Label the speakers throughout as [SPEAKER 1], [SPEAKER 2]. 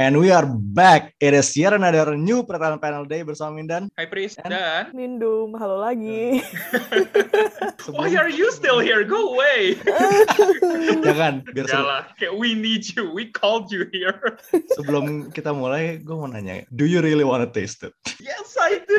[SPEAKER 1] And we are back. It is yet another new perkenalan panel day bersama Mindan.
[SPEAKER 2] Hi Pris
[SPEAKER 1] And-
[SPEAKER 2] dan
[SPEAKER 3] Nindum, halo lagi.
[SPEAKER 2] Why Oh, are you still here? Go away.
[SPEAKER 1] Jangan, Ya kan, biar
[SPEAKER 2] Enggak
[SPEAKER 1] seru.
[SPEAKER 2] lah. Kayak we need you. We called you here.
[SPEAKER 1] sebelum kita mulai, gue mau nanya, do you really wanna taste it?
[SPEAKER 2] Yes, I do.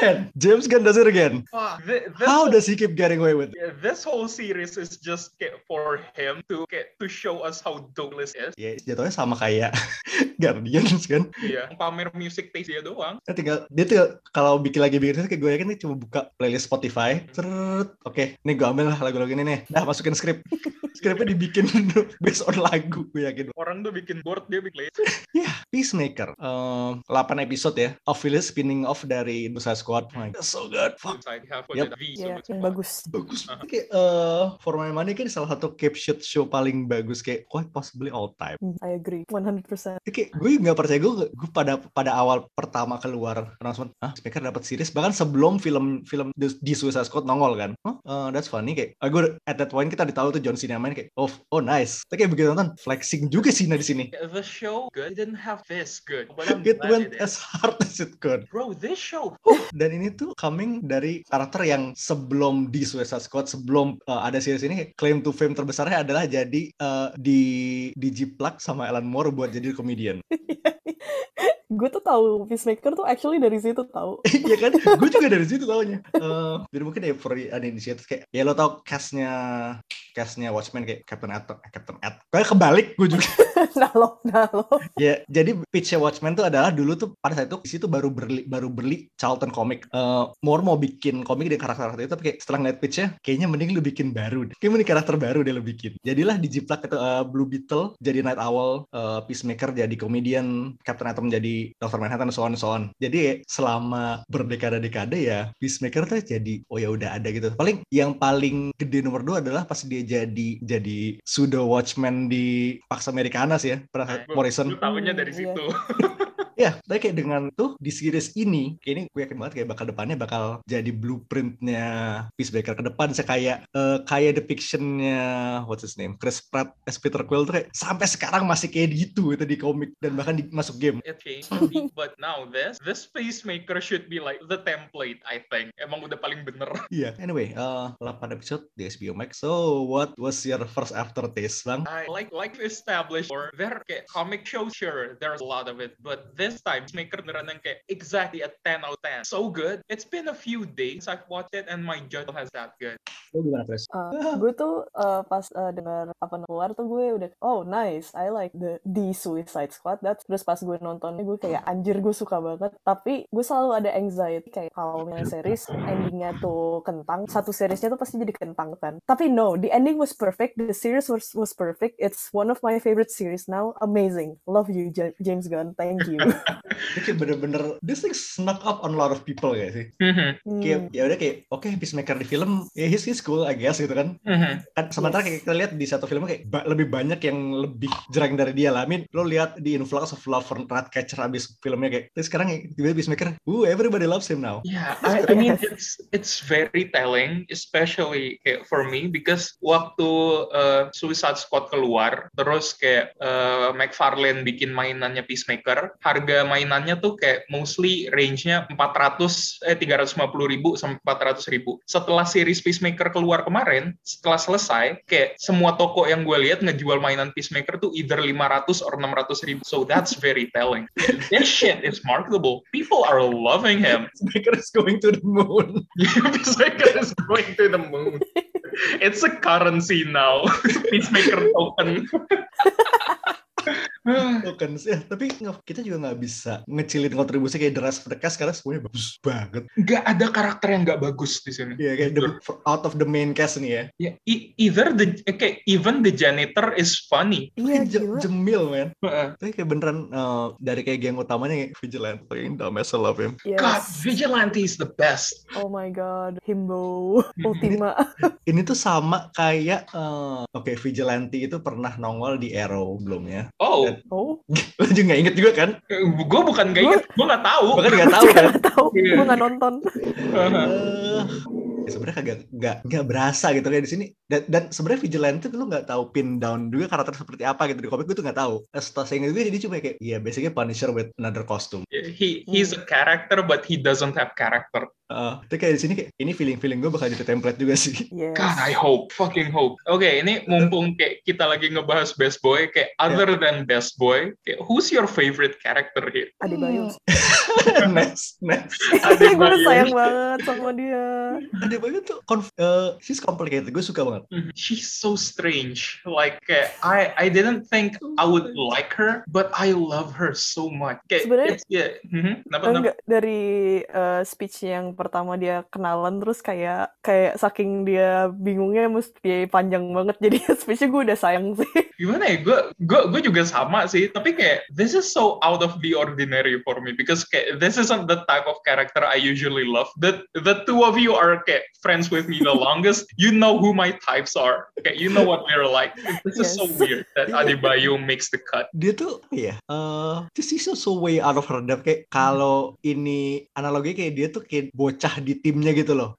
[SPEAKER 1] Man, James Gunn does it again.
[SPEAKER 2] Wah, Uh, thi- this,
[SPEAKER 1] How does he keep getting away with it?
[SPEAKER 2] yeah, this whole series is just kayak for him to kayak to show us how Douglas is.
[SPEAKER 1] Ya, jatuhnya sama kayak Guardians kan.
[SPEAKER 2] Iya, pamer music taste ah. dia doang.
[SPEAKER 1] Dia tinggal, dia tinggal kalau bikin lagi bikin kayak gue yakin dia cuma buka playlist Spotify. Seret, oke, ini gue ambil lah lagu-lagu ini nih. Dah masukin skrip. Skripnya dibikin based on lagu, gue yakin.
[SPEAKER 2] Orang tuh bikin board dia bikin list.
[SPEAKER 1] Ya, Peacemaker. Um, 8 episode ya. Office spinning off dari Nusa Squad. Oh My, God, so good. Fuck.
[SPEAKER 2] I have
[SPEAKER 1] Yep.
[SPEAKER 2] yep. V, so
[SPEAKER 3] ya,
[SPEAKER 2] it's
[SPEAKER 3] yang
[SPEAKER 2] fun.
[SPEAKER 3] bagus.
[SPEAKER 1] bagus
[SPEAKER 2] Aha.
[SPEAKER 1] kayak eh For My Money kan salah satu caption show paling bagus kayak quite possibly all time
[SPEAKER 3] Hmm, I agree, 100%.
[SPEAKER 1] Jadi kayak gue nggak percaya gue, gue pada pada awal pertama keluar announcement ah speaker dapat series bahkan sebelum film film The- di Suicide Squad nongol kan huh? Eh, that's funny kayak ah, gue at that point kita ditahu tuh John Cena main kayak oh oh nice tapi kayak begitu nonton flexing juga Cena di sini
[SPEAKER 2] Yeah, The show good didn't have this good, but I'm
[SPEAKER 1] it
[SPEAKER 2] glad
[SPEAKER 1] went
[SPEAKER 2] it
[SPEAKER 1] as
[SPEAKER 2] is.
[SPEAKER 1] hard as it could
[SPEAKER 2] Bro, this show
[SPEAKER 1] dan ini tuh coming dari karakter yang sebelum di Suicide Squad sebelum uh, ada series ini claim to fame terbesarnya adalah jadi uh, di dijiplak sama Alan Moore buat jadi comedian
[SPEAKER 3] Gue tuh tahu Peacemaker tuh actually dari situ tahu.
[SPEAKER 1] ya kan gue juga dari situ taunya Eh, jadi mungkin ya for ada inisiatif kayak ya lo tau castnya castnya Watchmen kayak Captain Atom eh, Captain Atom kayak kebalik gue juga
[SPEAKER 3] nah lo, nah lo.
[SPEAKER 1] ya jadi pitch Watchmen tuh adalah dulu tuh pada saat itu di situ baru berli baru beli Charlton komik Eh, Moore mau bikin komik dengan karakter-karakter itu tapi kayak setelah ngeliat pitchnya kayaknya mending lu bikin baru deh. kayak mending karakter baru deh lu bikin jadilah dijiplak itu eh, Blue Beetle jadi Night Owl eh, Peacemaker jadi komedian Captain Atom jadi Dr. Manhattan dan so on so on jadi ya, selama berdekade-dekade ya Peacemaker tuh jadi oh ya udah ada gitu paling yang paling gede nomor dua adalah pas dia jadi jadi pseudo Watchmen di Pax Americanas ya pada saat
[SPEAKER 2] Gua-
[SPEAKER 1] Morrison
[SPEAKER 2] Eh, lu tahunya dari
[SPEAKER 3] Hmm, iya.
[SPEAKER 2] situ.
[SPEAKER 1] Ya, tapi kayak dengan tuh di series ini, kayak ini gue yakin banget kayak bakal depannya bakal jadi blueprintnya Peacemaker ke depan. Saya kayak eh, kayak depictionnya what's his name Chris Pratt as Peter Quill tuh kayak sampai sekarang masih kayak gitu itu di komik dan bahkan di, masuk game.
[SPEAKER 2] it changed to be, but now this this pacemaker should be like the template I think emang udah paling bener
[SPEAKER 1] Iya. Anyway, eh 8 episode di HBO Max. So, what was your first aftertaste, Bang?
[SPEAKER 2] I like like to establish or there kayak comic show sure there's a lot of it but this time pacemaker beneran yang kayak exactly a 10 out of 10 so good it's been a few days I've watched it and my judge has that good
[SPEAKER 1] Lo gimana, Chris?
[SPEAKER 3] Uh, gue tuh uh, pas uh, dengar apa keluar tuh gue udah oh nice I like the the Suicide Squad that terus pas gue nontonnya gue kayak anjir gue suka banget tapi gue selalu ada anxiety kayak kalau misalnya series endingnya tuh kentang satu seriesnya tuh pasti jadi kentang kan tapi no the ending was perfect the series was was perfect it's one of my favorite series now amazing love you Ja- James Gunn thank you
[SPEAKER 1] Ini kayak bener-bener this thing snuck up on a lot of people gak sih?
[SPEAKER 2] Mm-hmm,
[SPEAKER 1] Kayak
[SPEAKER 3] Hmm,
[SPEAKER 1] ya udah kayak oke Peacemaker di film, ya he's, he's cool I guess gitu kan.
[SPEAKER 2] mm-hmm.
[SPEAKER 1] kan sementara kayak
[SPEAKER 3] Yes.
[SPEAKER 1] kita lihat di satu film kayak ba- lebih banyak yang lebih jereng dari dia lah. I mean, lo lihat di Influx of Love for Ratcatcher abis filmnya kayak terus sekarang kayak tiba-tiba Peacemaker, uh everybody loves him now.
[SPEAKER 2] Yeah, I, I mean it's it's very telling, especially kayak for me because waktu uh, Suicide Squad keluar, terus kayak uh, McFarlane bikin mainannya Peacemaker, harga mainannya tuh kayak mostly range-nya 400 eh 350 ribu sampai 400 ribu. Setelah series Peacemaker keluar kemarin, setelah selesai, kayak semua toko yang gue lihat ngejual mainan Peacemaker tuh either 500 or 600 ribu. So that's very telling. This shit is marketable. People are loving him.
[SPEAKER 1] Peacemaker is going to the moon.
[SPEAKER 2] Peacemaker is going to the moon. It's a currency now. Peacemaker token.
[SPEAKER 1] tokens ya tapi nggak- kita juga nggak bisa ngecilin kontribusi kayak The Rest of the Cast karena semuanya bagus banget
[SPEAKER 2] Nggak ada karakter yang nggak bagus di sini.
[SPEAKER 1] ya kayak the- out of the main cast nih ya
[SPEAKER 2] Ya, e- either the okay, even the janitor is funny.
[SPEAKER 3] Iya,
[SPEAKER 1] Je-
[SPEAKER 3] gila.
[SPEAKER 1] jemil man
[SPEAKER 2] Heeh.
[SPEAKER 1] tapi kayak beneran eh, dari kayak geng utamanya kayak Vigilante yang Dumbass I love him
[SPEAKER 2] God,
[SPEAKER 3] Yes.
[SPEAKER 2] vigilante is the best.
[SPEAKER 3] Oh my god. Himbo. Ultima.
[SPEAKER 1] ini tuh sama kayak eh, oke Vigilante itu pernah nongol di Arrow belumnya
[SPEAKER 2] Oh,
[SPEAKER 3] Oh,
[SPEAKER 1] lo juga nggak inget juga kan
[SPEAKER 2] gue bukan gak inget, gue nggak tahu.
[SPEAKER 1] bahkan nggak tahu kan
[SPEAKER 3] nggak tahu.
[SPEAKER 2] Iya.
[SPEAKER 3] Gue nggak nonton.
[SPEAKER 2] Heeh.
[SPEAKER 1] Eh, ya sebenarnya kagak nggak nggak berasa gitu kayak di sini dan, dan sebenarnya vigilante tuh lu nggak tahu pin down juga karakter seperti apa gitu di komik gue tuh nggak tahu Eh, setelah saya ingat gue jadi cuma kayak ya basically Punisher with another costume
[SPEAKER 2] he he's a character but he doesn't have character.
[SPEAKER 1] Eh, tapi kayak di sini kayak ini feeling feeling gue bakal jadi template juga sih
[SPEAKER 3] Yes.
[SPEAKER 2] God, I hope, fucking hope. Oke, ini mumpung kayak kita lagi ngebahas best boy, kayak other than best boy, kayak who's your favorite character here?
[SPEAKER 3] Adebayo.
[SPEAKER 1] next next
[SPEAKER 3] gue
[SPEAKER 2] Adebayo.
[SPEAKER 3] sayang banget sama dia.
[SPEAKER 1] ada banget tuh konf- eh, she's complicated gue suka banget
[SPEAKER 2] She's so strange. Like kayak, I I didn't think I would like her, but I love her so much. Kayak
[SPEAKER 3] Sebenarnya-
[SPEAKER 2] it's- yeah, mhm, kenapa, kenapa?
[SPEAKER 3] Enggak dari eh, speech yang pertama dia kenalan terus kayak kayak saking dia bingungnya mesti panjang banget jadi speechnya gue udah sayang sih.
[SPEAKER 2] gimana ya gue gue gue juga sama sih tapi kayak this is so out of the ordinary for me because kayak this isn't the type of character I usually love the the two of you are kayak friends with me the longest you know who my types are kayak you know what we're like this is so
[SPEAKER 3] Yes.
[SPEAKER 2] weird that Adebayo makes the cut
[SPEAKER 1] dia tuh apa ya eh this is so way out of her depth kayak kalau ini analoginya kayak dia tuh kayak bocah di timnya gitu loh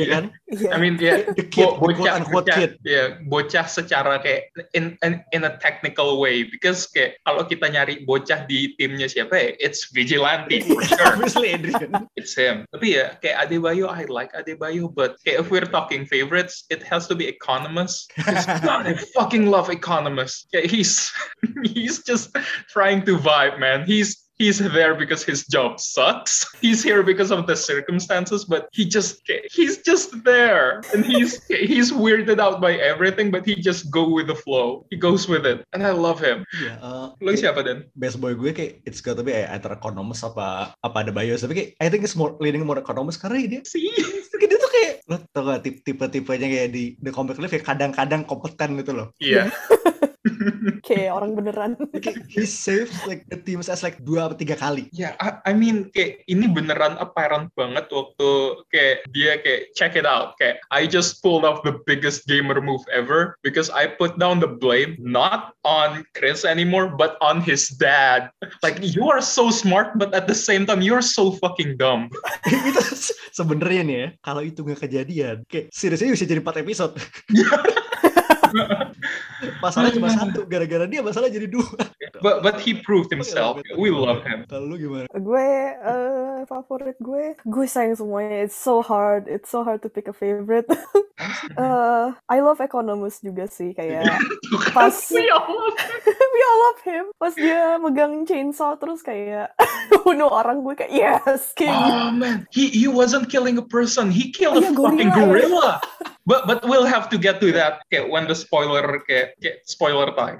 [SPEAKER 1] ya kan
[SPEAKER 2] I
[SPEAKER 3] Iya.
[SPEAKER 2] mean yeah
[SPEAKER 1] the kid
[SPEAKER 2] Bo-
[SPEAKER 1] quote unquote
[SPEAKER 2] bocah,
[SPEAKER 1] kid
[SPEAKER 2] ya, bocah secara kayak in, in in a technical way because kayak kalau kita nyari bocah di timnya siapa ya it's vigilante for sure
[SPEAKER 1] obviously Adrian
[SPEAKER 2] It's him. Tapi ya, kayak Adebayo, I like Adebayo, but kayak if we're talking favorites, it has to be Economist. 'Cause God, I fucking love Economist. Kayak he's he's just trying to vibe, man. He's he's there because his job sucks. He's here because of the circumstances, but he just kayak, he's just there, and he's he's weirded out by everything, but he just go with the flow. He goes with it, and I love him.
[SPEAKER 1] Iya, eh,
[SPEAKER 2] Lo
[SPEAKER 1] kayak
[SPEAKER 2] siapa dan?
[SPEAKER 1] best boy gue kayak it's gotta be eh, either economist apa apa ada bios tapi kayak I think it's more leaning more economist karena dia
[SPEAKER 2] Si.
[SPEAKER 1] kayak dia tuh kayak lo tau gak tip- tipe-tipenya kayak di The Comic Relief kayak kadang-kadang kompeten gitu loh
[SPEAKER 2] Iya.
[SPEAKER 3] Kayak orang beneran.
[SPEAKER 1] kayak he saves like the teams as like dua atau tiga kali
[SPEAKER 2] Ya, I, I mean kayak ini beneran apparent banget waktu kayak dia kayak check it out kayak I just pulled off the biggest gamer move ever because I put down the blame not on Chris anymore but on his dad. Like you are so smart but at the same time you're so fucking dumb.
[SPEAKER 1] itu se- sebenarnya nih ya kalau itu nggak kejadian kayak seriusnya bisa jadi empat episode masalah cuma satu gara-gara dia masalah jadi dua
[SPEAKER 2] But but he proved himself. We love him.
[SPEAKER 1] kalau lu gimana
[SPEAKER 3] gue eh, favorit gue gue sayang semuanya it's so hard it's so hard to pick a favorite Eh, I love Economist juga sih kayak pas
[SPEAKER 2] We all love him.
[SPEAKER 3] we all love him pas dia megang chainsaw terus kayak bunuh orang gue kayak yes king
[SPEAKER 2] Oh man, he he wasn't killing a person. He killed a
[SPEAKER 3] Yeah,
[SPEAKER 2] fucking Oh, gorilla.
[SPEAKER 3] gorilla.
[SPEAKER 2] but but we'll have to get to that okay, when the spoiler okay, okay, spoiler time.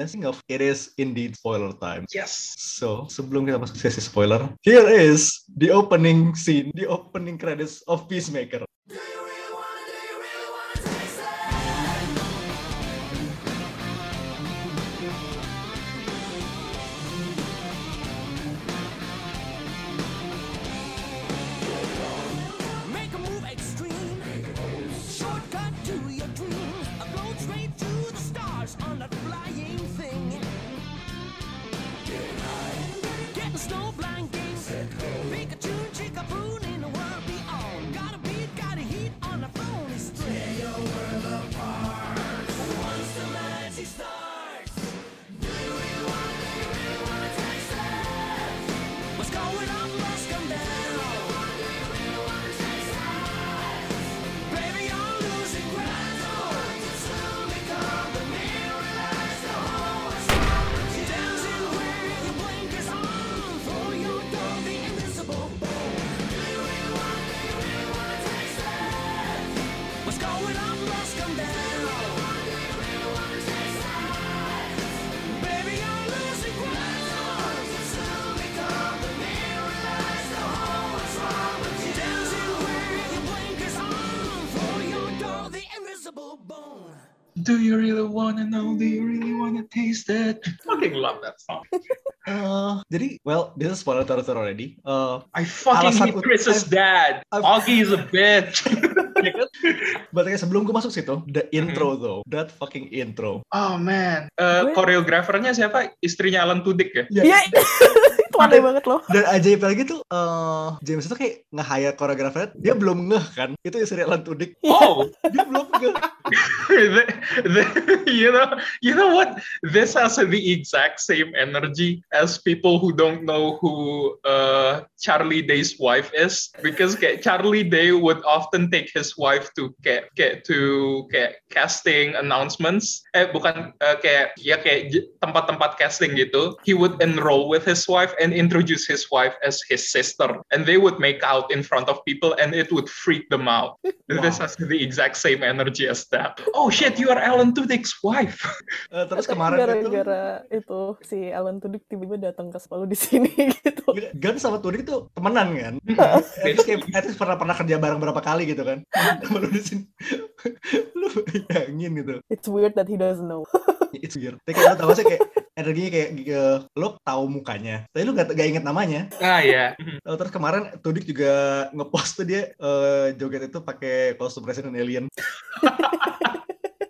[SPEAKER 1] dancing of it is indeed spoiler time
[SPEAKER 2] Yes.
[SPEAKER 1] So, sebelum kita masuk sesi spoiler, here is the opening scene, the opening credits of Peacemaker.
[SPEAKER 4] Make a move extreme. Shortcut to your dream. A road straight to the stars on a flying thing. Get the snow blind games. Pikachu, Chickaboon in the world beyond. Got a beat, got a heat on a phony string. Tear your world apart. Once the magic starts. Do you really want, do you really want to taste it? What's going on must come down. Baby, I'm losing ground. Soon become the mirror's the whole Dancing where your blinkers on. Throw your door, the invisible.
[SPEAKER 2] Do you really wanna know? Do you really wanna taste it? Fucking love that song.
[SPEAKER 1] Eh, jadi, well, this is spoiler territory already. Eh,
[SPEAKER 2] I fucking
[SPEAKER 1] Alasan
[SPEAKER 2] hate
[SPEAKER 1] ut-
[SPEAKER 2] Chris's dad.
[SPEAKER 1] I've-
[SPEAKER 2] Augie is a bitch.
[SPEAKER 1] ya kan? Berarti sebelum gue masuk situ, the intro
[SPEAKER 2] Mm-hmm.
[SPEAKER 1] though, that fucking intro.
[SPEAKER 2] Oh man. Eh,
[SPEAKER 3] Gue-
[SPEAKER 2] koreografernya siapa? Istrinya Alan Tudyk ya?
[SPEAKER 1] Ya,
[SPEAKER 3] Iya, itu aneh banget loh.
[SPEAKER 1] Dan ajaib lagi tuh, eh, James itu kayak nge-hire koreografer, dia belum ngeh kan, itu istri Alan Tudyk,
[SPEAKER 2] Oh,
[SPEAKER 1] dia belum ngeh.
[SPEAKER 2] the, the- you know, you know what? This has the exact same energy as people who don't know who uh, Charlie Day's wife is, because kayak Charlie Day would often take his wife to kayak, kayak to kayak casting announcements. Eh bukan eh, kayak ya kayak j- tempat-tempat casting gitu. He would enroll with his wife and introduce his wife as his sister, and they would make out in front of people, and it would freak them out. This
[SPEAKER 1] Wow.
[SPEAKER 2] has the exact same energy as that. Oh shit, you are Alan Tudyk's wife.
[SPEAKER 1] Eh, terus
[SPEAKER 3] Tapi
[SPEAKER 1] kemarin itu,
[SPEAKER 3] gara-gara itu si Alan Tudyk tiba-tiba datang ke sekolah di sini gitu.
[SPEAKER 1] Gun sama Tudyk tuh temenan kan,
[SPEAKER 2] It's-
[SPEAKER 1] Terus kayak at least pernah pernah kerja bareng berapa kali gitu kan. Sama lu di sini. lu bayangin gitu.
[SPEAKER 3] It's weird that he doesn't know.
[SPEAKER 1] It's weird. Tapi kayak lu tau gak sih kayak energinya kayak eh, lu tahu mukanya, tapi lu gak, gak inget namanya.
[SPEAKER 2] ah ya.
[SPEAKER 1] Lalu Eh, terus kemarin Tudik juga ngepost tuh dia eh, joget itu pakai kostum Resident Alien.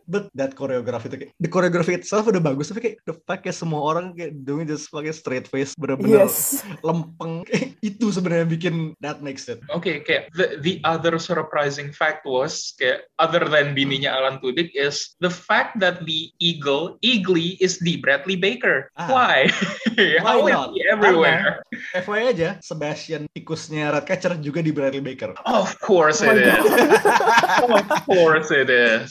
[SPEAKER 1] But that choreography itu kayak the choreography itself udah bagus tapi kayak the fact kayak semua orang kayak doing just pakai straight face bener-bener
[SPEAKER 3] Yes.
[SPEAKER 1] lempeng Kayak itu sebenarnya bikin that makes it.
[SPEAKER 2] Okay, kayak the, the other surprising fact was kayak other than bininya Alan Tudyk is the fact that the eagle, Eagly is the Bradley Baker.
[SPEAKER 1] Ah.
[SPEAKER 2] Why? How is
[SPEAKER 1] not?
[SPEAKER 2] he everywhere?
[SPEAKER 1] FYI aja, Sebastian tikusnya Redcatcher juga di Bradley Baker.
[SPEAKER 2] Of course
[SPEAKER 3] Oh
[SPEAKER 2] it
[SPEAKER 3] my
[SPEAKER 2] is. of course it is.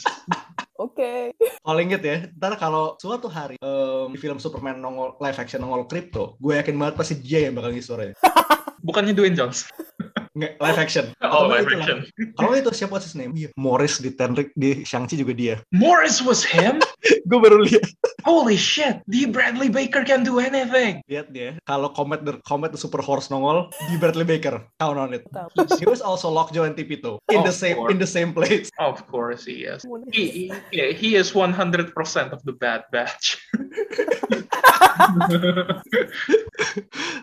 [SPEAKER 3] Oke.
[SPEAKER 1] Paling inget ya, ntar kalau suatu hari em, di film Superman nongol live action nongol kripto, gue yakin banget pasti dia yang bakal ngisi suaranya.
[SPEAKER 2] Bukannya Dwayne Johnson.
[SPEAKER 1] Nggak, live action. Atau
[SPEAKER 2] Oh, live
[SPEAKER 1] itulah.
[SPEAKER 2] action.
[SPEAKER 1] Kalau nggak Oh, itu siapa what's his name? Iya, Morris di Tenrik di Shang-Chi juga dia.
[SPEAKER 2] Morris was him?
[SPEAKER 1] gue baru lihat.
[SPEAKER 2] Holy shit, the Bradley Baker can do anything.
[SPEAKER 1] Lihat dia. Kalau Comet the Comet the Super Horse nongol di Bradley Baker. Count on it.
[SPEAKER 3] Tahu.
[SPEAKER 1] He was also Lockjaw and Tipito in the
[SPEAKER 2] Of
[SPEAKER 1] same
[SPEAKER 2] course.
[SPEAKER 1] in the same place.
[SPEAKER 2] Of course he is. He, he, he is 100% of the bad batch. Oh,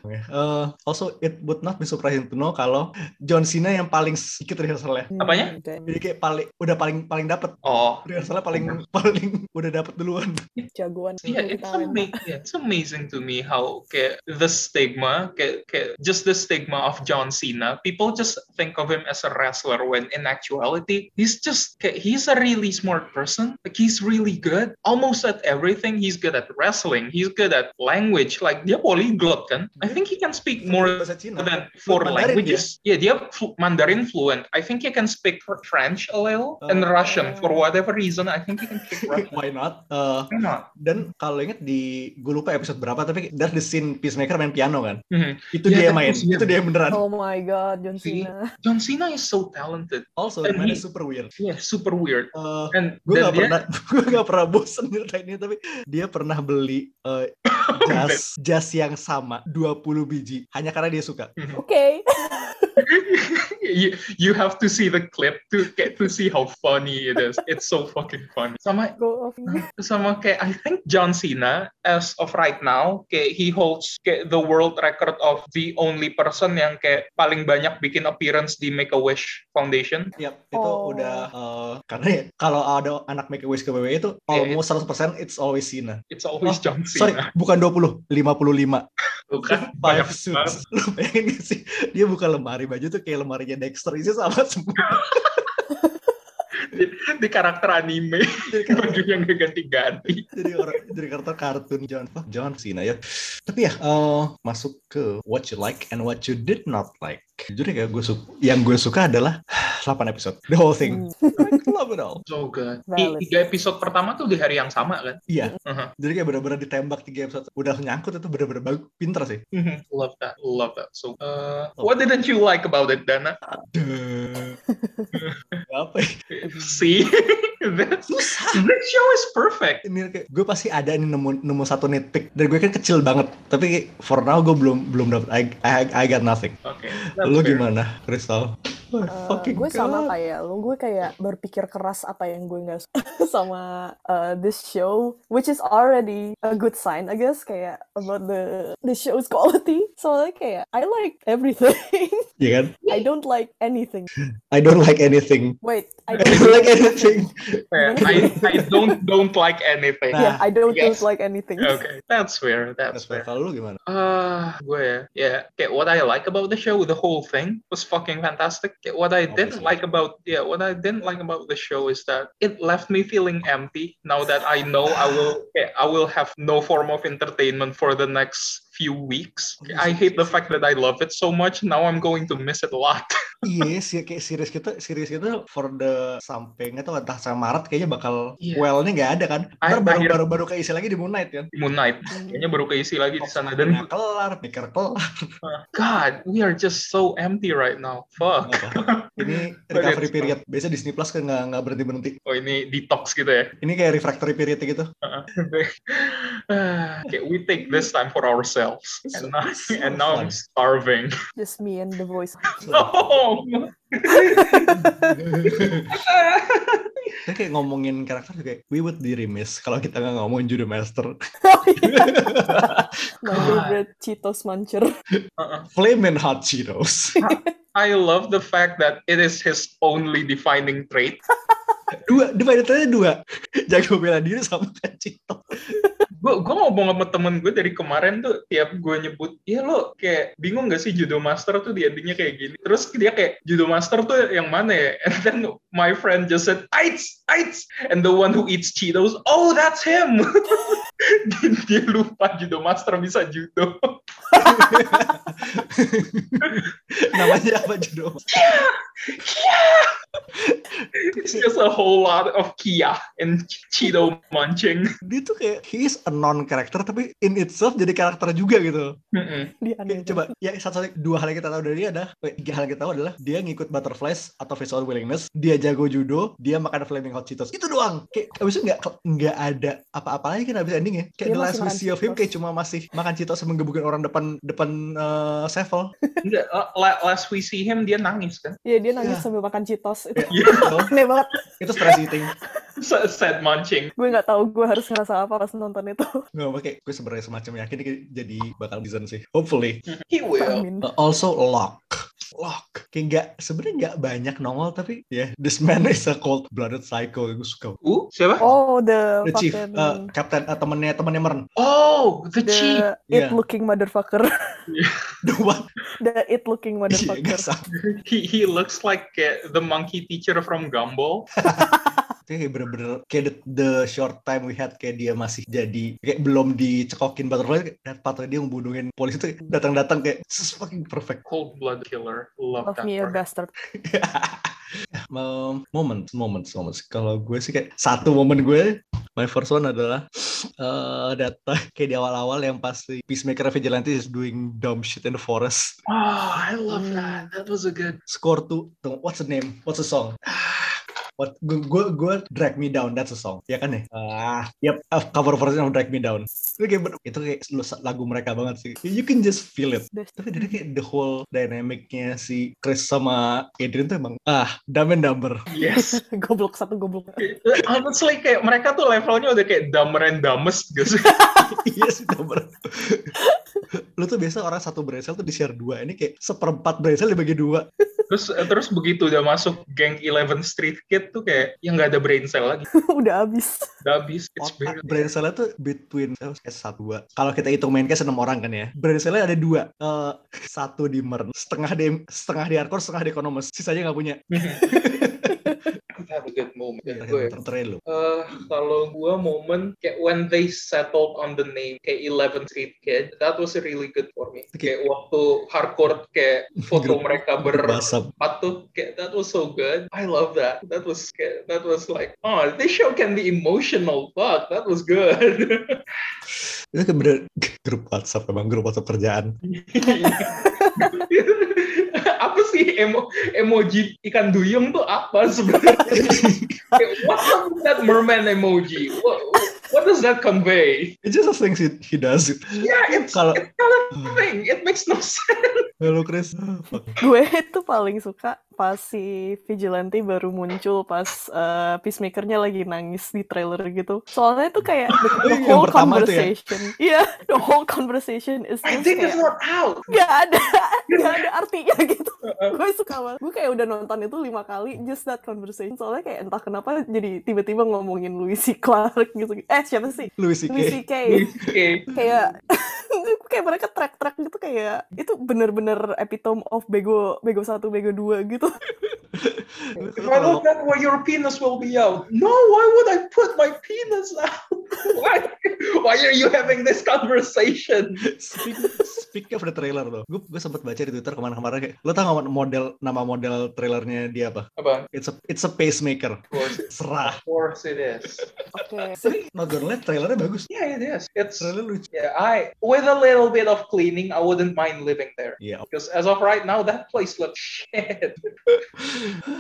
[SPEAKER 1] Okay.
[SPEAKER 2] ya.
[SPEAKER 1] Eh, also it would not be surprising to know kalau John Cena yang paling sedikit rehearsalnya.
[SPEAKER 2] Apanya?
[SPEAKER 3] Hmm,
[SPEAKER 1] Jadi kayak paling udah paling paling dapet
[SPEAKER 2] oh,
[SPEAKER 1] rehearsalnya paling paling udah dapet duluan.
[SPEAKER 3] Jagoan. kan.
[SPEAKER 2] yeah,
[SPEAKER 1] Iya, kan
[SPEAKER 2] it's, ama- yeah, it's amazing to me how kayak, the stigma, kayak, kayak, just the stigma of John Cena, people just think of him as a wrestler when in actuality, he's just, kayak, he's a really smart person. Like, he's really good almost at everything. He's good at wrestling, he's good at language. Like, dia polyglot kan? I think he can speak more
[SPEAKER 1] bahasa Cina.
[SPEAKER 2] than four
[SPEAKER 1] Mandarin
[SPEAKER 2] languages. Yeah, dia flu- Mandarin fluent. I think he can speak fr- French a little and
[SPEAKER 1] Oh.
[SPEAKER 2] Russian for whatever reason. I think he can speak Russian.
[SPEAKER 1] Why not? Eh,
[SPEAKER 2] Why not?
[SPEAKER 1] dan kalau inget di gue lupa episode berapa tapi that's the scene Peacemaker main piano kan.
[SPEAKER 2] Mhm.
[SPEAKER 1] Itu dia
[SPEAKER 2] Yeah,
[SPEAKER 1] yang
[SPEAKER 2] that
[SPEAKER 1] main.
[SPEAKER 2] was him.
[SPEAKER 1] Itu dia yang beneran.
[SPEAKER 3] Oh my god, John
[SPEAKER 2] See?
[SPEAKER 3] Cena.
[SPEAKER 2] John Cena is so talented.
[SPEAKER 1] Also,
[SPEAKER 2] And
[SPEAKER 1] the man
[SPEAKER 2] he-
[SPEAKER 1] is super weird.
[SPEAKER 2] Yeah, super weird.
[SPEAKER 1] Eh,
[SPEAKER 2] And
[SPEAKER 1] gue
[SPEAKER 2] then
[SPEAKER 1] gak
[SPEAKER 2] dia-
[SPEAKER 1] pernah gue gak pernah bosen nyeritainnya tapi dia pernah beli eh, jas jas yang sama 20 biji hanya karena dia suka
[SPEAKER 3] Oke.
[SPEAKER 2] you, you have to see the clip to get to see how funny it is. It's so fucking funny. Sama
[SPEAKER 3] Go off.
[SPEAKER 2] sama kayak I think John Cena as of right now kayak he holds kayak the world record of the only person yang kayak paling banyak bikin appearance di Make a Wish Foundation.
[SPEAKER 1] Yap, itu
[SPEAKER 3] Oh.
[SPEAKER 1] udah eh, karena ya kalau ada anak make a wish ke WWE itu almost 100% it's always Cena
[SPEAKER 2] It's always
[SPEAKER 1] Oh,
[SPEAKER 2] John
[SPEAKER 1] sorry
[SPEAKER 2] Cena.
[SPEAKER 1] bukan 20 55
[SPEAKER 2] Bukan
[SPEAKER 1] five
[SPEAKER 2] banyak banget.
[SPEAKER 1] suits lu bayangin gak sih dia buka lemari baju tuh kayak lemarinya Dexter isinya sama semua
[SPEAKER 2] Di, di karakter anime
[SPEAKER 1] jadi karakter-
[SPEAKER 2] baju yang ganti-ganti.
[SPEAKER 1] jadi orang jadi karakter kartun John fuck John Cena ya tapi ya eh, masuk ke what you like and what you did not like jujur ya gue suka yang gue suka adalah 8 episode the whole thing
[SPEAKER 3] Hmm.
[SPEAKER 1] I love it all
[SPEAKER 2] So good.
[SPEAKER 3] Valid.
[SPEAKER 2] Tiga episode pertama tuh di hari yang sama kan?
[SPEAKER 3] Hmm.
[SPEAKER 1] iya
[SPEAKER 2] Uh-huh.
[SPEAKER 1] jadi kayak bener-bener ditembak tiga episode udah nyangkut itu bener-bener bagus pinter sih
[SPEAKER 2] Mhm. Love that. Love that. So, uh,
[SPEAKER 1] Oh.
[SPEAKER 2] what didn't you like about it, Dana?
[SPEAKER 1] Duh. apa ya?
[SPEAKER 2] See, this,
[SPEAKER 1] susah
[SPEAKER 2] this show is perfect.
[SPEAKER 1] ini kayak gue pasti ada nih nemu nemu satu nitpick dan gue kan kecil banget tapi kayak, for now gue belum belum dapet I, I, I got nothing
[SPEAKER 2] Okay.
[SPEAKER 1] lu gimana Crystal my
[SPEAKER 3] Eh,
[SPEAKER 1] fucking
[SPEAKER 3] gue sama
[SPEAKER 1] God.
[SPEAKER 3] kayak lo gue kayak berpikir keras apa yang gue nggak suka sama eh, this show which is already a good sign I guess kayak about the the show's quality soalnya kayak I like everything
[SPEAKER 1] Iya kan?
[SPEAKER 3] I don't like anything
[SPEAKER 1] I don't like anything.
[SPEAKER 3] wait I
[SPEAKER 1] I
[SPEAKER 3] don't
[SPEAKER 1] don't like anything.
[SPEAKER 2] Kayak,
[SPEAKER 1] Nah.
[SPEAKER 2] I I don't don't like anything.
[SPEAKER 3] yeah I don't
[SPEAKER 2] Yes.
[SPEAKER 3] don't like anything
[SPEAKER 2] Okay, that's fair. That's fair.
[SPEAKER 1] Kalau lu gimana?
[SPEAKER 2] Uh, gue ya, yeah. Kayak what I like about the show, the whole thing was fucking fantastic. Kayak what I didn't
[SPEAKER 1] Obviously.
[SPEAKER 2] like about yeah, what I didn't like about the show is that it left me feeling empty. Now that I know I will, kayak, I will have no form of entertainment for the next few weeks. Kayak, I hate the fact that I love it so much. Now I'm going to miss it a lot.
[SPEAKER 1] Iya sih kayak series kita series kita for the sampai nggak tahu entah sama Maret kayaknya bakal
[SPEAKER 2] Iya.
[SPEAKER 1] well-nya nggak ada kan. Ntar
[SPEAKER 2] Akhir-
[SPEAKER 1] baru,
[SPEAKER 2] akhir-
[SPEAKER 1] baru baru keisi lagi di Moon Knight kan.
[SPEAKER 2] Moon Knight,
[SPEAKER 3] Hmm,
[SPEAKER 2] kayaknya baru keisi lagi di sana dan
[SPEAKER 1] Nggak kelar, pikir kelar.
[SPEAKER 2] God, we are just so empty right now. Fuck.
[SPEAKER 1] Nggak apa-apa. Ini recovery period. Biasanya Disney Plus kan nggak nggak berhenti berhenti.
[SPEAKER 2] Oh ini detox gitu ya.
[SPEAKER 1] Ini kayak refractory period gitu.
[SPEAKER 2] Ah, okay, we take this time for ourselves. And now,
[SPEAKER 1] So
[SPEAKER 2] and now I'm
[SPEAKER 1] fun.
[SPEAKER 2] starving.
[SPEAKER 3] just me and the voice
[SPEAKER 2] No.
[SPEAKER 1] Tapi kayak ngomongin karakter juga, we would be remiss kalau kita nggak ngomongin Judo Master.
[SPEAKER 3] my
[SPEAKER 2] God.
[SPEAKER 3] favorite Cheetos muncher
[SPEAKER 1] Flamin' Hot Cheetos.
[SPEAKER 2] I love the fact that it is his only defining trait.
[SPEAKER 1] dua, dua ternyata dua. Jago bela diri sama kan Cheetos.
[SPEAKER 2] Gue ngomong sama temen gue dari kemarin tuh tiap gue nyebut, ya lo kayak bingung gak sih judo master tuh di endingnya kayak gini. Terus dia kayak judo master tuh yang mana ya? And then my friend just said, Aits, Aits. And the one who eats Cheetos, oh that's him. dia, dia lupa judo master bisa judo.
[SPEAKER 1] Namanya apa Judo Master?
[SPEAKER 2] It's just a whole lot of Kia and Cheeto munching.
[SPEAKER 1] Dia tuh kayak, he is a non-character tapi in itself jadi karakter juga gitu.
[SPEAKER 2] Mm-mm.
[SPEAKER 3] di
[SPEAKER 1] Oke,
[SPEAKER 3] aneh
[SPEAKER 1] coba ya satu dua hal yang kita tahu dari dia ada eh, tiga hal yang kita tahu adalah dia ngikut butterflies atau visual willingness dia jago judo dia makan flaming hot cheetos itu doang kayak abis itu nggak nggak ada apa-apa lagi kan abis ending ya kayak
[SPEAKER 3] Dia
[SPEAKER 1] the last we
[SPEAKER 3] masih makan
[SPEAKER 1] see of him
[SPEAKER 3] Cheetos.
[SPEAKER 1] kayak cuma masih makan cheetos sama gebukin orang depan depan eh, Sevel
[SPEAKER 2] Nggak, uh, la- last we see him dia nangis kan.
[SPEAKER 3] ya dia nangis
[SPEAKER 1] Ya.
[SPEAKER 3] sambil makan Cheetos itu
[SPEAKER 2] Yeah.
[SPEAKER 1] Betul.
[SPEAKER 3] aneh banget
[SPEAKER 1] Gitu. itu stress eating
[SPEAKER 2] Sad munching.
[SPEAKER 3] gue nggak tahu gue harus ngerasa apa pas nonton itu
[SPEAKER 1] nggak apa kayak gue sebenarnya semacam yakin dia jadi bakal season sih hopefully
[SPEAKER 2] He will.
[SPEAKER 3] Amin.
[SPEAKER 1] Uh, also lock lock kayak nggak sebenarnya nggak banyak nongol tapi ya this man is a cold blooded psycho gue suka
[SPEAKER 2] Uh, siapa?
[SPEAKER 3] Oh, the,
[SPEAKER 1] The chief,
[SPEAKER 3] fucking
[SPEAKER 1] eh, kapten, eh, temennya temennya Mern,
[SPEAKER 2] Oh, the,
[SPEAKER 3] the
[SPEAKER 2] chief.
[SPEAKER 1] Yeah.
[SPEAKER 3] it-looking motherfucker,
[SPEAKER 1] the one,
[SPEAKER 3] the it-looking
[SPEAKER 1] iya
[SPEAKER 3] motherfucker.
[SPEAKER 1] nggak sama.
[SPEAKER 2] He he looks like uh, the monkey teacher from Gumball.
[SPEAKER 1] Itu kayak bener-bener kayak the, the short time we had kayak dia masih jadi kayak belum dicekokin butterfly, kayak dan patah dia ngebunuhin polisi itu datang-datang kayak this is fucking perfect.
[SPEAKER 2] Cold blood killer. Love,
[SPEAKER 3] Love
[SPEAKER 2] that
[SPEAKER 3] me a
[SPEAKER 2] part.
[SPEAKER 3] bastard.
[SPEAKER 1] Um, moments, moments, moments. Kalau gue sih kayak satu momen gue, my first one adalah eh data kayak di awal-awal yang pasti peacemaker vigilante is doing dumb shit in the forest.
[SPEAKER 2] Oh, I love
[SPEAKER 3] Mm.
[SPEAKER 2] that. That was a good.
[SPEAKER 1] Score to, to- what's the name? What's the song? What gue gue gue drag me down that's a song ya kan ya ah yep uh, cover version of drag me down itu kayak bener- itu kayak lu- lagu mereka banget sih you can just feel it
[SPEAKER 3] Best.
[SPEAKER 1] tapi dari kayak the whole dynamicnya si Chris sama Adrian tuh emang ah dumb and dumber
[SPEAKER 2] Yes.
[SPEAKER 3] goblok satu goblok.
[SPEAKER 2] Honestly, kayak mereka tuh levelnya udah kayak dumber and dumbest gitu.
[SPEAKER 1] iya sih dumber lu tuh biasa orang satu bracelet tuh di share dua ini kayak seperempat bracelet dibagi dua
[SPEAKER 2] terus terus begitu udah masuk gang 11 Street Kid tuh kayak yang nggak ada brain cell lagi.
[SPEAKER 3] Udah habis.
[SPEAKER 2] Udah habis. It's
[SPEAKER 1] otak
[SPEAKER 2] barely-
[SPEAKER 1] brain cell-nya tuh between eh, kayak satu dua kalau kita hitung main case enam orang kan ya brain cell-nya ada dua Eh, satu di mern setengah di setengah di hardcore setengah di economist sisanya nggak punya
[SPEAKER 2] Have a good moment. Gue-
[SPEAKER 1] terakhir terakhir lu
[SPEAKER 2] Eh, kalau gua momen kayak when they settled on the name kayak 11 Street Kid, that was really good for me.
[SPEAKER 1] Oke.
[SPEAKER 2] Kayak waktu hardcore kayak foto
[SPEAKER 1] Grup-
[SPEAKER 2] mereka berempat
[SPEAKER 1] basap
[SPEAKER 2] tuh kayak that was so good. I love that. That was kayak, that was like oh this show can be emotional. Fuck, that was good.
[SPEAKER 1] itu kayak bener grup WhatsApp emang grup WhatsApp kerjaan
[SPEAKER 2] apa sih emo emoji ikan duyung tuh apa sebenarnya? Kayak, What's up with that merman emoji? What, what does that convey?
[SPEAKER 1] it's just a thing he, he does it
[SPEAKER 2] Yeah, it's
[SPEAKER 1] kalau
[SPEAKER 2] It's not a thing. It makes no sense.
[SPEAKER 1] Halo Chris.
[SPEAKER 3] gue itu paling suka pas si vigilante baru muncul pas eh, peacemakernya lagi nangis di trailer gitu soalnya itu kayak the, the
[SPEAKER 1] Yang
[SPEAKER 3] whole
[SPEAKER 1] pertama itu ya?
[SPEAKER 3] conversation iya the whole conversation is
[SPEAKER 2] I
[SPEAKER 3] just
[SPEAKER 2] think it's
[SPEAKER 3] kayak
[SPEAKER 2] not out.
[SPEAKER 3] nggak ada nggak ada artinya gitu gue suka banget gue kayak udah nonton itu lima kali just that conversation soalnya kayak entah kenapa jadi tiba-tiba ngomongin Louis C. Clark gitu eh siapa sih
[SPEAKER 1] Louis CK.
[SPEAKER 3] Louis C.K.
[SPEAKER 2] Oke.
[SPEAKER 3] kayak kayak mereka track-track gitu kayak itu bener-bener epitome of bego bego satu bego dua gitu
[SPEAKER 2] If I look that way, your penis will be out. No, why would I put my penis out? why? Why are you having this conversation?
[SPEAKER 1] speak speak of the trailer loh. Gue gue sempat baca di Twitter kemarin-kemarin kayak lo tau gak model nama model trailernya dia apa?
[SPEAKER 2] About
[SPEAKER 1] It's a it's a pacemaker.
[SPEAKER 2] of course, of
[SPEAKER 1] Serah.
[SPEAKER 2] course it is.
[SPEAKER 3] oke
[SPEAKER 1] Not gonna lie, trailernya bagus.
[SPEAKER 2] Yeah, it is. It's
[SPEAKER 1] Trailer lucu.
[SPEAKER 2] yeah. I with a little bit of cleaning, I wouldn't mind living there
[SPEAKER 1] Iya.
[SPEAKER 2] because as of right now, that place looks shit.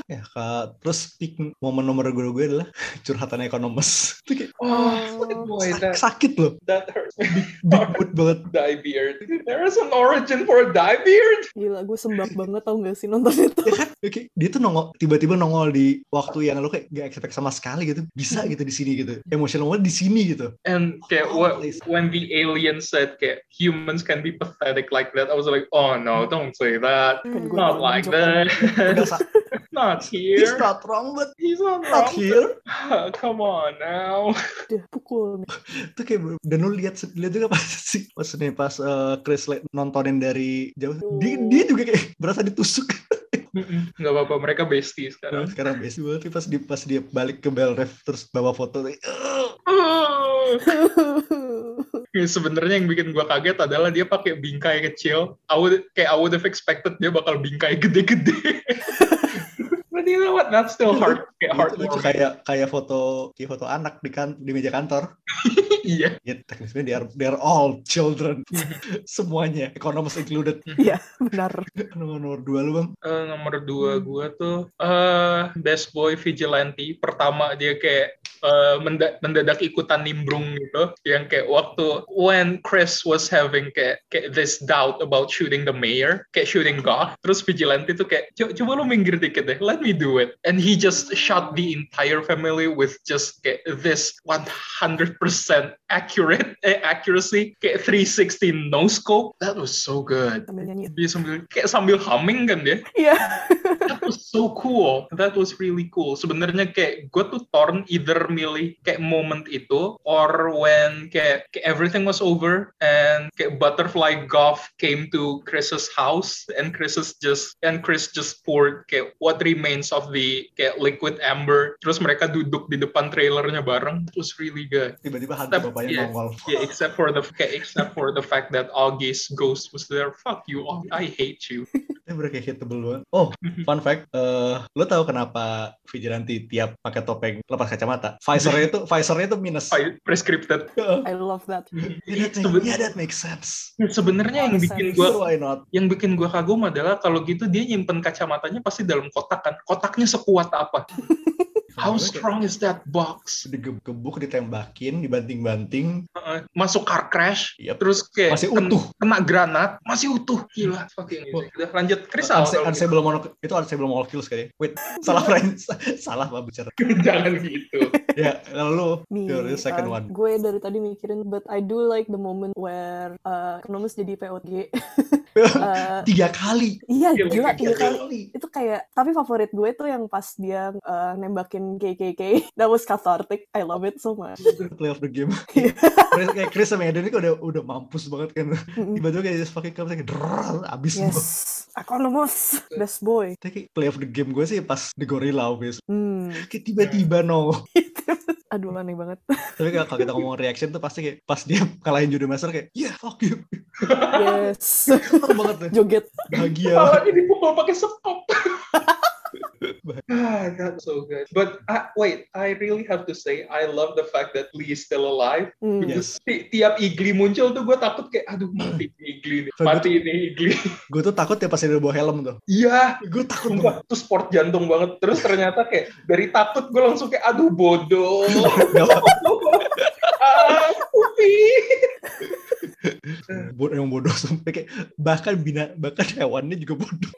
[SPEAKER 1] Ya, Kak. terus peak momen nomor gue gue adalah curhatan ekonomis. Itu kayak
[SPEAKER 2] Oh, boy,
[SPEAKER 1] sak-
[SPEAKER 2] that
[SPEAKER 1] sakit loh.
[SPEAKER 2] that hurts.
[SPEAKER 1] Big mood banget.
[SPEAKER 2] dye beard. There is an origin for a dye beard.
[SPEAKER 3] gila gue sembab banget tau gak sih nonton itu
[SPEAKER 1] Ya kan? Oke, dia tuh nongol tiba-tiba nongol di waktu yang lo kayak gak expect sama sekali gitu. Bisa gitu di sini gitu. Emosionalnya di sini gitu.
[SPEAKER 2] And okay,
[SPEAKER 1] Oh,
[SPEAKER 2] wh- when the alien said okay, humans can be pathetic like that, I was like, oh no, don't say that.
[SPEAKER 3] Dan gue
[SPEAKER 2] Not
[SPEAKER 3] baru
[SPEAKER 2] like
[SPEAKER 3] menunjukkan-
[SPEAKER 1] Udah
[SPEAKER 2] that.
[SPEAKER 1] sa-
[SPEAKER 2] not
[SPEAKER 1] He's
[SPEAKER 2] here.
[SPEAKER 1] not wrong but
[SPEAKER 2] He's not
[SPEAKER 1] not
[SPEAKER 2] wrong.
[SPEAKER 1] here.
[SPEAKER 2] Come on now.
[SPEAKER 3] Duh, pukul
[SPEAKER 1] itu kayak dan lu lihat lihat juga pas si pas nih pas eh, Chris le- nontonin dari jauh dia, dia juga kayak berasa ditusuk
[SPEAKER 2] Nggak apa-apa, mereka besties sekarang.
[SPEAKER 1] sekarang best banget pas di pas dia balik ke Belref terus bawa foto kayak, "Eh," gitu, "Ugh."
[SPEAKER 2] Ah. Ya, Sebenarnya yang bikin gua kaget adalah dia pakai bingkai kecil. I would, kayak I would have expected dia bakal bingkai gede-gede. But you know what? That's still hard.
[SPEAKER 1] Itu
[SPEAKER 2] Kayak
[SPEAKER 1] lucu,
[SPEAKER 2] heartwarming.
[SPEAKER 1] kayak kayak foto kayak foto anak di kan di meja kantor
[SPEAKER 2] Iya.
[SPEAKER 1] ya teknisnya they are, they are all children semuanya ekonomis included
[SPEAKER 3] iya benar
[SPEAKER 1] nomor nomor dua lu bang
[SPEAKER 2] Eh, nomor dua gua tuh eh best boy vigilante pertama dia kayak eh, menda- mendadak ikutan nimbrung gitu yang kayak waktu when Chris was having kayak, kayak this doubt about shooting the mayor kayak shooting God terus vigilante tuh kayak "Co- coba lu minggir dikit deh let me do it and he just shot the entire family with just kayak this 100% accurate eh, accuracy kayak 360 no scope that was so good
[SPEAKER 3] sambil nyanyi
[SPEAKER 2] dia sambil kayak sambil humming kan dia
[SPEAKER 3] iya
[SPEAKER 2] that was so cool. That was really cool. Sebenarnya kayak gue tuh torn either milih kayak moment itu or when kayak, kayak everything was over and kayak butterfly golf came to Chris's house and Chris's just and Chris just poured kayak what remains of the kayak liquid amber. Terus mereka duduk di depan trailernya bareng. It was really good.
[SPEAKER 1] tiba-tiba hantu
[SPEAKER 2] Tapi-
[SPEAKER 1] bapaknya
[SPEAKER 2] iya.
[SPEAKER 1] nongol
[SPEAKER 2] Yeah, except for the kayak, except for the fact that Augie's ghost was there. Fuck you, Augie. I hate you.
[SPEAKER 1] Ini bener kayak hitable banget. Oh, fun fact, eh lo tahu kenapa vigilante tiap pakai topeng lepas kacamata? Visornya itu, visornya itu minus.
[SPEAKER 2] I prescripted.
[SPEAKER 1] Yeah,
[SPEAKER 3] I love that
[SPEAKER 2] Iya,
[SPEAKER 1] that make-
[SPEAKER 2] Seben-
[SPEAKER 1] yeah, iya, that makes sense.
[SPEAKER 2] sebenarnya yang
[SPEAKER 3] Makes
[SPEAKER 2] bikin
[SPEAKER 3] sense.
[SPEAKER 1] So
[SPEAKER 2] gua
[SPEAKER 1] why not?
[SPEAKER 2] yang bikin gua kagum adalah kalau gitu dia nyimpen kacamatanya pasti dalam kotak kan kotaknya sekuat apa how
[SPEAKER 1] Iya.
[SPEAKER 2] strong is that box
[SPEAKER 1] Digebuk, ditembakin, dibanting-banting,
[SPEAKER 2] Heeh. masuk car crash
[SPEAKER 1] Yep.
[SPEAKER 2] terus kayak
[SPEAKER 1] masih
[SPEAKER 2] ken-
[SPEAKER 1] utuh. Oh.
[SPEAKER 2] kena granat masih utuh gila fucking amazing. udah lanjut Chris Al,
[SPEAKER 1] Unsa-
[SPEAKER 2] kalau gitu.
[SPEAKER 1] Unsable mono, itu unsable molecules kali. ya. Wait, salah friend, salah apa bicara?
[SPEAKER 2] gitu. jangan gitu
[SPEAKER 1] Ya, kalau lu,
[SPEAKER 3] Me,
[SPEAKER 1] you're the second
[SPEAKER 3] uh,
[SPEAKER 1] one.
[SPEAKER 3] gue dari tadi mikirin but I do like the moment where uh, Economist jadi POD Uh,
[SPEAKER 1] Tiga kali.
[SPEAKER 3] iya
[SPEAKER 2] Gila, gila,
[SPEAKER 3] gila iya
[SPEAKER 1] Tiga
[SPEAKER 3] kan
[SPEAKER 1] kali.
[SPEAKER 3] itu kayak tapi favorit gue tuh yang pas dia uh, nembakin KKK that was cathartic I love it so much
[SPEAKER 1] Play of the game.
[SPEAKER 3] Iya.
[SPEAKER 1] Chris, kayak Chris sama Eden ini udah udah mampus banget kan. tiba-tiba kayak just fucking comes like drrrr, abis semua.
[SPEAKER 3] Mm-hmm. yes Economist best boy
[SPEAKER 1] Tapi kayak play of the game gue sih pas The Gorilla obvious.
[SPEAKER 3] hmm
[SPEAKER 1] Kayak tiba-tiba no.
[SPEAKER 3] aduh aneh banget
[SPEAKER 1] Tapi kalau kalau kita ngomong reaction tuh pasti kayak pas dia kalahin Judo Master kayak yeah fuck you.
[SPEAKER 3] yes
[SPEAKER 1] Seneng banget deh.
[SPEAKER 3] joget
[SPEAKER 1] Bahagia.
[SPEAKER 2] Kepalanya dipukul pakai sekop. ah, that's so good. But uh, wait, I really have to say, I love the fact that Lee is still alive.
[SPEAKER 3] Hmm.
[SPEAKER 1] Yes.
[SPEAKER 2] Terus ti- tiap igli muncul tuh gue takut kayak, aduh mati ini igli nih,
[SPEAKER 1] Saya
[SPEAKER 2] mati ini igli.
[SPEAKER 1] Gue tuh takut ya pas dia udah bawa helm tuh.
[SPEAKER 2] Iya,
[SPEAKER 1] Gue takut banget.
[SPEAKER 2] sumpah, itu sport jantung banget. Terus ternyata kayak, dari takut gue langsung kayak, aduh bodoh.
[SPEAKER 1] Gak apa-apa.
[SPEAKER 2] ah, upi.
[SPEAKER 1] Bo- yang bodoh sumpah kayak bahkan bina bahkan hewannya juga bodoh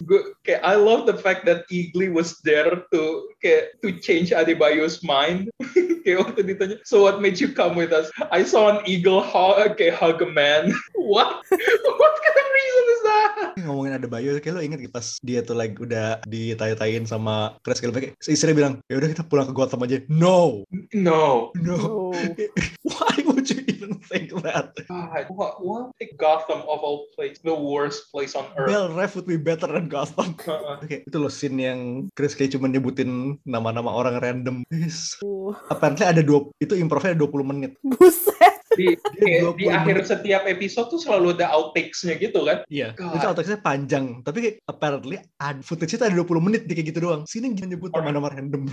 [SPEAKER 2] Gue- kayak I love the fact that Igli was there to kayak to change Adebayo's mind. kayak waktu ditanya, so what made you come with us? I saw an eagle hug, kayak hug a man. what? what kind of reason is that?
[SPEAKER 1] ngomongin ada Bayu kayak lo inget gitu, pas dia tuh like udah ditanya-tanyain sama Chris Gilbert kayak istrinya bilang ya udah kita pulang ke Gotham aja no
[SPEAKER 2] No.
[SPEAKER 1] no
[SPEAKER 3] Aduh.
[SPEAKER 1] why would you even think that
[SPEAKER 2] God, what, what? Gotham of all places, the worst place on earth.
[SPEAKER 1] Bell Rev would be better than Gotham
[SPEAKER 2] Uh-uh.
[SPEAKER 1] Oke, itu loh scene yang Chris kayak cuma nyebutin nama-nama orang random. Yes.
[SPEAKER 3] Aduh.
[SPEAKER 1] Apparently ada dua, itu improv-nya 20 menit.
[SPEAKER 3] Buset.
[SPEAKER 2] Di,
[SPEAKER 1] 20
[SPEAKER 2] kayak di akhir setiap episode tuh selalu ada outtakes-nya gitu kan?
[SPEAKER 1] Iya.
[SPEAKER 2] God.
[SPEAKER 1] Itu outtakes-nya panjang, tapi kayak apparently ad, footage-nya tuh ada 20 menit dia kayak gitu doang. Sini dia nyebut nama-nama random.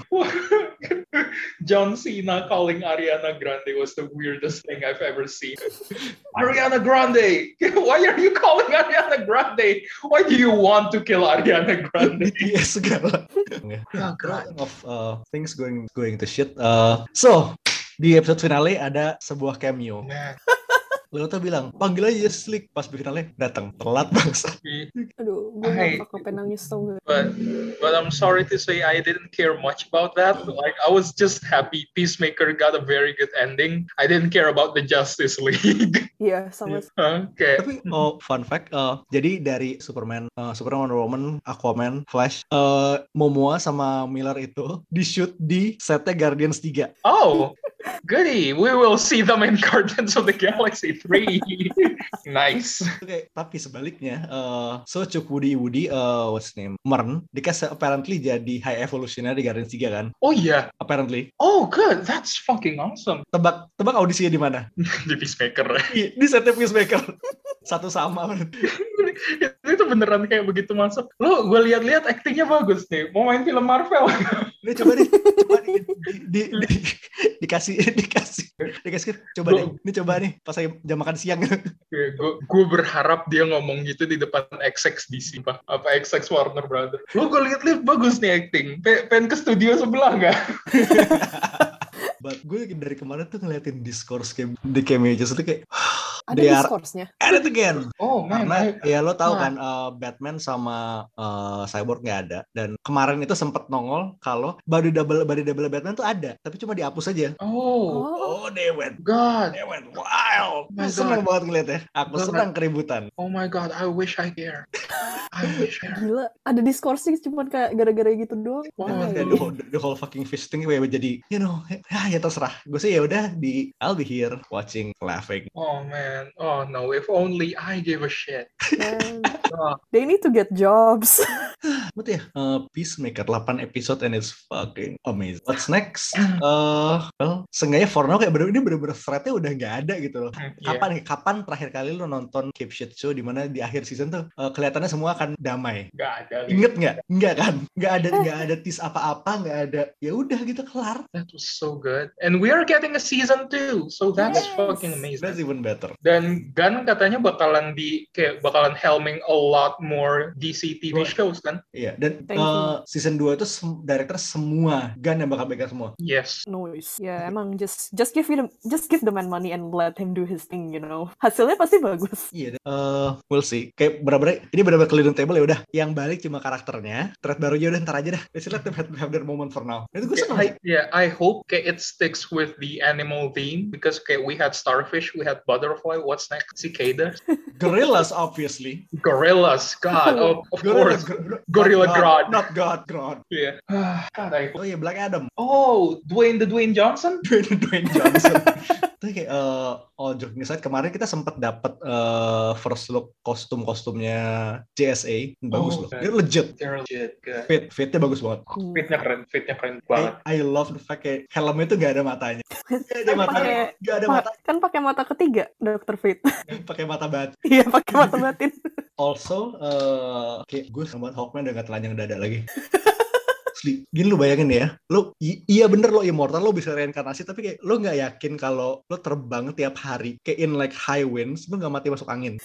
[SPEAKER 2] John Cena calling Ariana Grande was the weirdest thing I've ever seen. Ariana Grande, why are you calling Ariana Grande? Why do you want to kill Ariana Grande?
[SPEAKER 1] BTS segala.
[SPEAKER 2] Oh, God.
[SPEAKER 1] Speaking of uh, things going going to shit. Uh, so, di episode finale ada sebuah cameo.
[SPEAKER 2] Man.
[SPEAKER 1] Leo tuh bilang, panggil aja Slick. Pas di finale, datang. Telat bangsa.
[SPEAKER 3] Aduh, gue
[SPEAKER 2] Hai.
[SPEAKER 3] ngakak sampai nangis tau gak?
[SPEAKER 2] But but I'm sorry to say I didn't care much about that. Like I was just happy Peacemaker got a very good ending. I didn't care about the Justice League.
[SPEAKER 3] Iya, sama
[SPEAKER 1] Iya.
[SPEAKER 2] okay.
[SPEAKER 1] Tapi oh, fun fact, eh, jadi dari Superman, eh, Superman, Wonder Woman, Aquaman, Flash, eh, Momoa sama Miller itu di shoot di setnya Guardians 3.
[SPEAKER 2] Oh, goody. We will see them in Guardians of the Galaxy 3. nice.
[SPEAKER 1] Oke, tapi sebaliknya, eh, so Chuck Woody Woody, eh, what's his name, Mern, dikasih apparently jadi High Evolutionary di Guardians 3 kan?
[SPEAKER 2] Oh yeah.
[SPEAKER 1] Apparently.
[SPEAKER 2] Oh good. That's fucking awesome.
[SPEAKER 1] Tebak, tebak audisinya di mana?
[SPEAKER 2] Di Peacemaker.
[SPEAKER 1] Iya, di setnya Peacemaker. Satu sama. Mern.
[SPEAKER 2] Ini tuh beneran kayak begitu masuk. Lo gue lihat-lihat aktingnya bagus nih. Mau main film Marvel.
[SPEAKER 1] Ini coba nih, coba nih, di, di- di- dikasih, dikasih, dikasih, coba nih, ini coba nih, pas saya jam makan siang.
[SPEAKER 2] gue berharap dia ngomong gitu di depan XX DC pak apa XX Warner Brother lo gue liat-liat bagus nih acting Pe- pengen ke studio sebelah nggak
[SPEAKER 1] But gue dari kemarin tuh ngeliatin discourse game di cameo itu kayak
[SPEAKER 3] Ada
[SPEAKER 1] They are-
[SPEAKER 3] discourse-nya.
[SPEAKER 1] at it again.
[SPEAKER 2] oh man
[SPEAKER 1] Karena
[SPEAKER 2] I-
[SPEAKER 1] ya lo tahu
[SPEAKER 2] Nah.
[SPEAKER 1] kan eh, Batman sama eh, Cyborg nggak ada dan kemarin itu sempet nongol kalau body double body double Batman tuh ada tapi cuma dihapus aja.
[SPEAKER 2] oh
[SPEAKER 3] Oh,
[SPEAKER 1] Oh, they went
[SPEAKER 2] god
[SPEAKER 1] they went wild.
[SPEAKER 2] Oh my
[SPEAKER 1] Gue seneng banget ngeliatnya. Aku
[SPEAKER 2] Gue
[SPEAKER 1] senang keributan.
[SPEAKER 2] oh my god I wish I care I wish I care
[SPEAKER 3] gila. Ada discourse-nya cuman kayak gara-gara gitu doang.
[SPEAKER 2] Oh,
[SPEAKER 1] Dan
[SPEAKER 3] Wah,
[SPEAKER 1] kayak gitu. the, whole, the whole fucking fish thing kayak jadi you know ya, ya terserah. Gue sih ya udah di I'll be here watching laughing.
[SPEAKER 2] oh man oh no if only I gave a shit
[SPEAKER 3] man.
[SPEAKER 2] Oh,
[SPEAKER 3] They need to get jobs.
[SPEAKER 1] What ya? Uh, Peacemaker 8 episode and it's fucking amazing. What's next? Eh, well, seenggaknya for now kayak bener ini bener-bener threadnya udah nggak ada gitu loh.
[SPEAKER 2] hmm,
[SPEAKER 3] Iya.
[SPEAKER 2] yeah.
[SPEAKER 1] Kapan kapan terakhir kali lo nonton Cape Shit Show di mana di akhir season tuh eh, kelihatannya semua akan damai.
[SPEAKER 2] Nggak ada
[SPEAKER 3] Iya.
[SPEAKER 2] nih.
[SPEAKER 1] Ingat nggak? Nggak kan? Nggak ada nggak ada tis apa-apa, nggak ada. Ya udah gitu kelar.
[SPEAKER 2] that was so good and we are getting a season 2 so that's
[SPEAKER 3] Yes.
[SPEAKER 2] fucking amazing
[SPEAKER 1] That's even better.
[SPEAKER 2] dan Gun katanya bakalan di kayak bakalan helming a lot more DC TV
[SPEAKER 1] Right.
[SPEAKER 2] shows kan?
[SPEAKER 1] Iya, dan eh,
[SPEAKER 3] Thank you.
[SPEAKER 1] season 2 itu sem- director semua Gun yang bakal pegang semua.
[SPEAKER 2] Yes.
[SPEAKER 3] Noise. Ya, emang just just give him just give the man money and let him do his thing, you know. Hasilnya pasti bagus.
[SPEAKER 1] Iya, eh we'll see. Kayak benar-benar ini benar-benar keliling table ya udah. Yang balik cuma karakternya, thread barunya udah ntar aja dah. Let's let them have, have their moment for now. Itu gue
[SPEAKER 2] Yeah,
[SPEAKER 1] seneng.
[SPEAKER 2] I, yeah, I hope kayak it sticks with the animal theme because kayak we had starfish, we had butterfly. What's next? Cicadas,
[SPEAKER 1] Gorillas obviously.
[SPEAKER 2] gorillas. God, of, of
[SPEAKER 1] Gorilla,
[SPEAKER 2] course.
[SPEAKER 1] gor-
[SPEAKER 2] Gorilla
[SPEAKER 1] not
[SPEAKER 2] Grodd.
[SPEAKER 1] Not God, Grodd.
[SPEAKER 2] Yeah. God, I hope.
[SPEAKER 1] Oh iya Black Adam.
[SPEAKER 2] Oh, Dwayne the Dwayne Johnson.
[SPEAKER 1] Dwayne, Dwayne Johnson. Tapi kayak eh, all joking aside, kemarin kita sempat dapat eh, first look kostum-kostumnya JSA. Bagus
[SPEAKER 2] Oh,
[SPEAKER 1] loh.
[SPEAKER 2] okay.
[SPEAKER 1] Dia legit.
[SPEAKER 2] They're legit. Good.
[SPEAKER 1] Fit, fitnya bagus banget.
[SPEAKER 3] Hmm.
[SPEAKER 2] Fitnya keren, fitnya keren banget.
[SPEAKER 1] I, I love the fact kayak helmnya itu gak ada matanya. Gak ada matanya.
[SPEAKER 3] Kan Pakai-
[SPEAKER 1] Gak ada mata.
[SPEAKER 3] Pa- kan pakai mata ketiga, Dr. Fit.
[SPEAKER 1] Pakai mata batu.
[SPEAKER 3] Iya, pakai mata batin.
[SPEAKER 1] Also, eh kayak gue sama Hawkman udah gak telanjang dada lagi. Asli, gini lu bayangin ya, lu i- iya bener lo immortal, lo bisa reinkarnasi, tapi kayak lo nggak yakin kalau lo terbang tiap hari, kayak in like high winds, lo nggak mati masuk angin.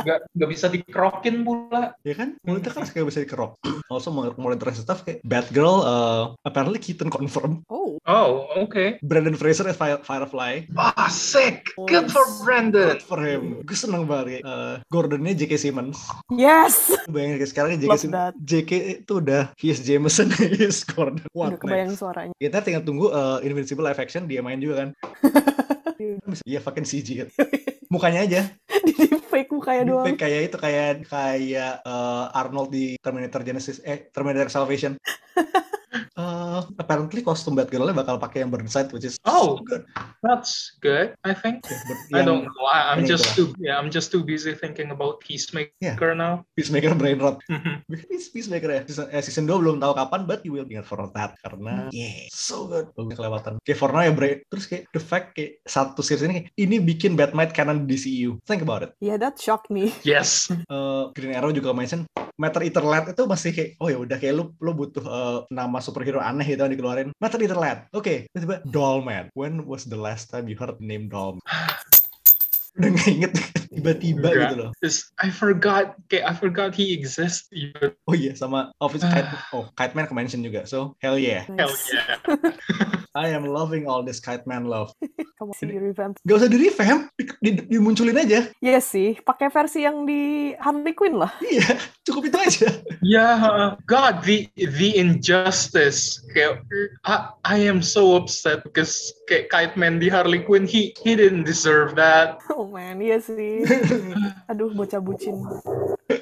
[SPEAKER 2] nggak nggak bisa dikerokin pula
[SPEAKER 1] ya kan
[SPEAKER 3] Hmm.
[SPEAKER 1] mulutnya keras kayak bisa dikerok also more, more interesting stuff kayak Batgirl uh, apparently Keaton confirm
[SPEAKER 3] Oh,
[SPEAKER 2] oh oke
[SPEAKER 1] Brandon Fraser as Fire- Firefly
[SPEAKER 2] ah sick good for Brandon
[SPEAKER 1] good for him gue seneng banget uh, Gordonnya J.K. Simmons
[SPEAKER 3] yes.
[SPEAKER 1] bayangin kayak sekarang JK
[SPEAKER 3] Love
[SPEAKER 1] Sim-
[SPEAKER 3] that.
[SPEAKER 1] JK itu udah he is Jameson he is Gordon what
[SPEAKER 3] Udah kebayang
[SPEAKER 1] next
[SPEAKER 3] suaranya.
[SPEAKER 1] kita tinggal tunggu uh, Invincible live action dia main juga kan Iya fucking CG mukanya aja
[SPEAKER 3] Di fake mukanya
[SPEAKER 1] Di
[SPEAKER 3] doang.
[SPEAKER 1] fake kayak itu kayak kayak eh, Arnold di Terminator Genesis eh Terminator Salvation Eh, apparently kostum Batgirl-nya bakal pakai yang Burnside which is
[SPEAKER 2] Oh.
[SPEAKER 1] good.
[SPEAKER 2] that's good I think
[SPEAKER 1] Ya, ber-
[SPEAKER 2] I
[SPEAKER 1] yang
[SPEAKER 2] don't know. I, I'm
[SPEAKER 1] ini
[SPEAKER 2] just too yeah, I'm just too busy thinking about Peacemaker now.
[SPEAKER 1] Peacemaker Brain Rot
[SPEAKER 2] Mhm.
[SPEAKER 1] Peace- Peacemaker ya season, eh, season 2 belum tahu kapan but you will be here for that karena yeah so good Bagus, kelewatan kayak for now ya Brain terus kayak the fact kayak satu series ini kayak, ini bikin Batman canon di DCU think about it
[SPEAKER 3] Ya, that shock me.
[SPEAKER 2] Yes.
[SPEAKER 1] Eh, Green Arrow juga mention Matter Eater Lad itu masih kayak oh ya udah kayak lu lu butuh eh, nama superhero aneh gitu yang dikeluarin Matter Eater Lad oke tiba-tiba Dollman when was the last time you heard the name Dollman udah nggak inget tiba-tiba
[SPEAKER 2] Enggak.
[SPEAKER 1] gitu loh
[SPEAKER 2] This- I forgot. Okay, I forgot he exists. even.
[SPEAKER 1] oh iya sama Office Kite oh Kite Man mention juga so hell yeah
[SPEAKER 2] Hell
[SPEAKER 3] Nice.
[SPEAKER 2] yeah.
[SPEAKER 1] I am loving all this Kite Man love
[SPEAKER 3] Kamu sih revamp.
[SPEAKER 1] gak usah di revamp di, di- dimunculin aja
[SPEAKER 3] Iya sih, pakai versi yang di Harley Quinn lah.
[SPEAKER 1] iya cukup itu aja
[SPEAKER 2] Yeah, God, the the injustice. Okay, I, I am so upset because okay, Kite Man, the Harley Quinn, he he didn't deserve that.
[SPEAKER 3] Oh man, iya sih. Aduh, bocah bucin.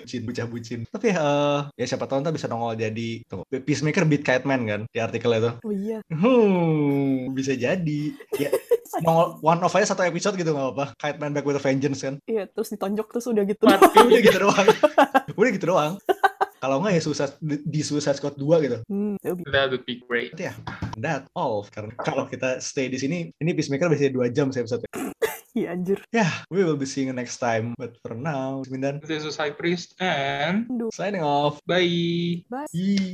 [SPEAKER 1] bucin bocah bucin tapi eh, ya siapa tahu ntar bisa nongol jadi tunggu, Peacemaker beat Kite Man kan di artikel itu
[SPEAKER 3] Oh iya.
[SPEAKER 1] Hmm, bisa jadi. Ya, nongol one off aja satu episode gitu nggak apa-apa. Kite Man Back with a Vengeance kan.
[SPEAKER 3] Iya, terus ditonjok terus udah gitu.
[SPEAKER 2] But
[SPEAKER 1] Udah gitu doang. Udah gitu doang. Kalau nggak ya susah di Suicide Squad 2 gitu.
[SPEAKER 3] Hmm, itu bi-
[SPEAKER 2] that would be great.
[SPEAKER 1] Itu ya, that all. Karena kalau kita stay di sini, ini Peacemaker biasanya 2 jam setiap episode.
[SPEAKER 3] iya anjir.
[SPEAKER 1] Ya, we will be seeing you next time. But for now, Mindan
[SPEAKER 2] This is High Priest and
[SPEAKER 3] Aduh.
[SPEAKER 1] signing off.
[SPEAKER 2] bye.
[SPEAKER 3] Bye.
[SPEAKER 1] Yee.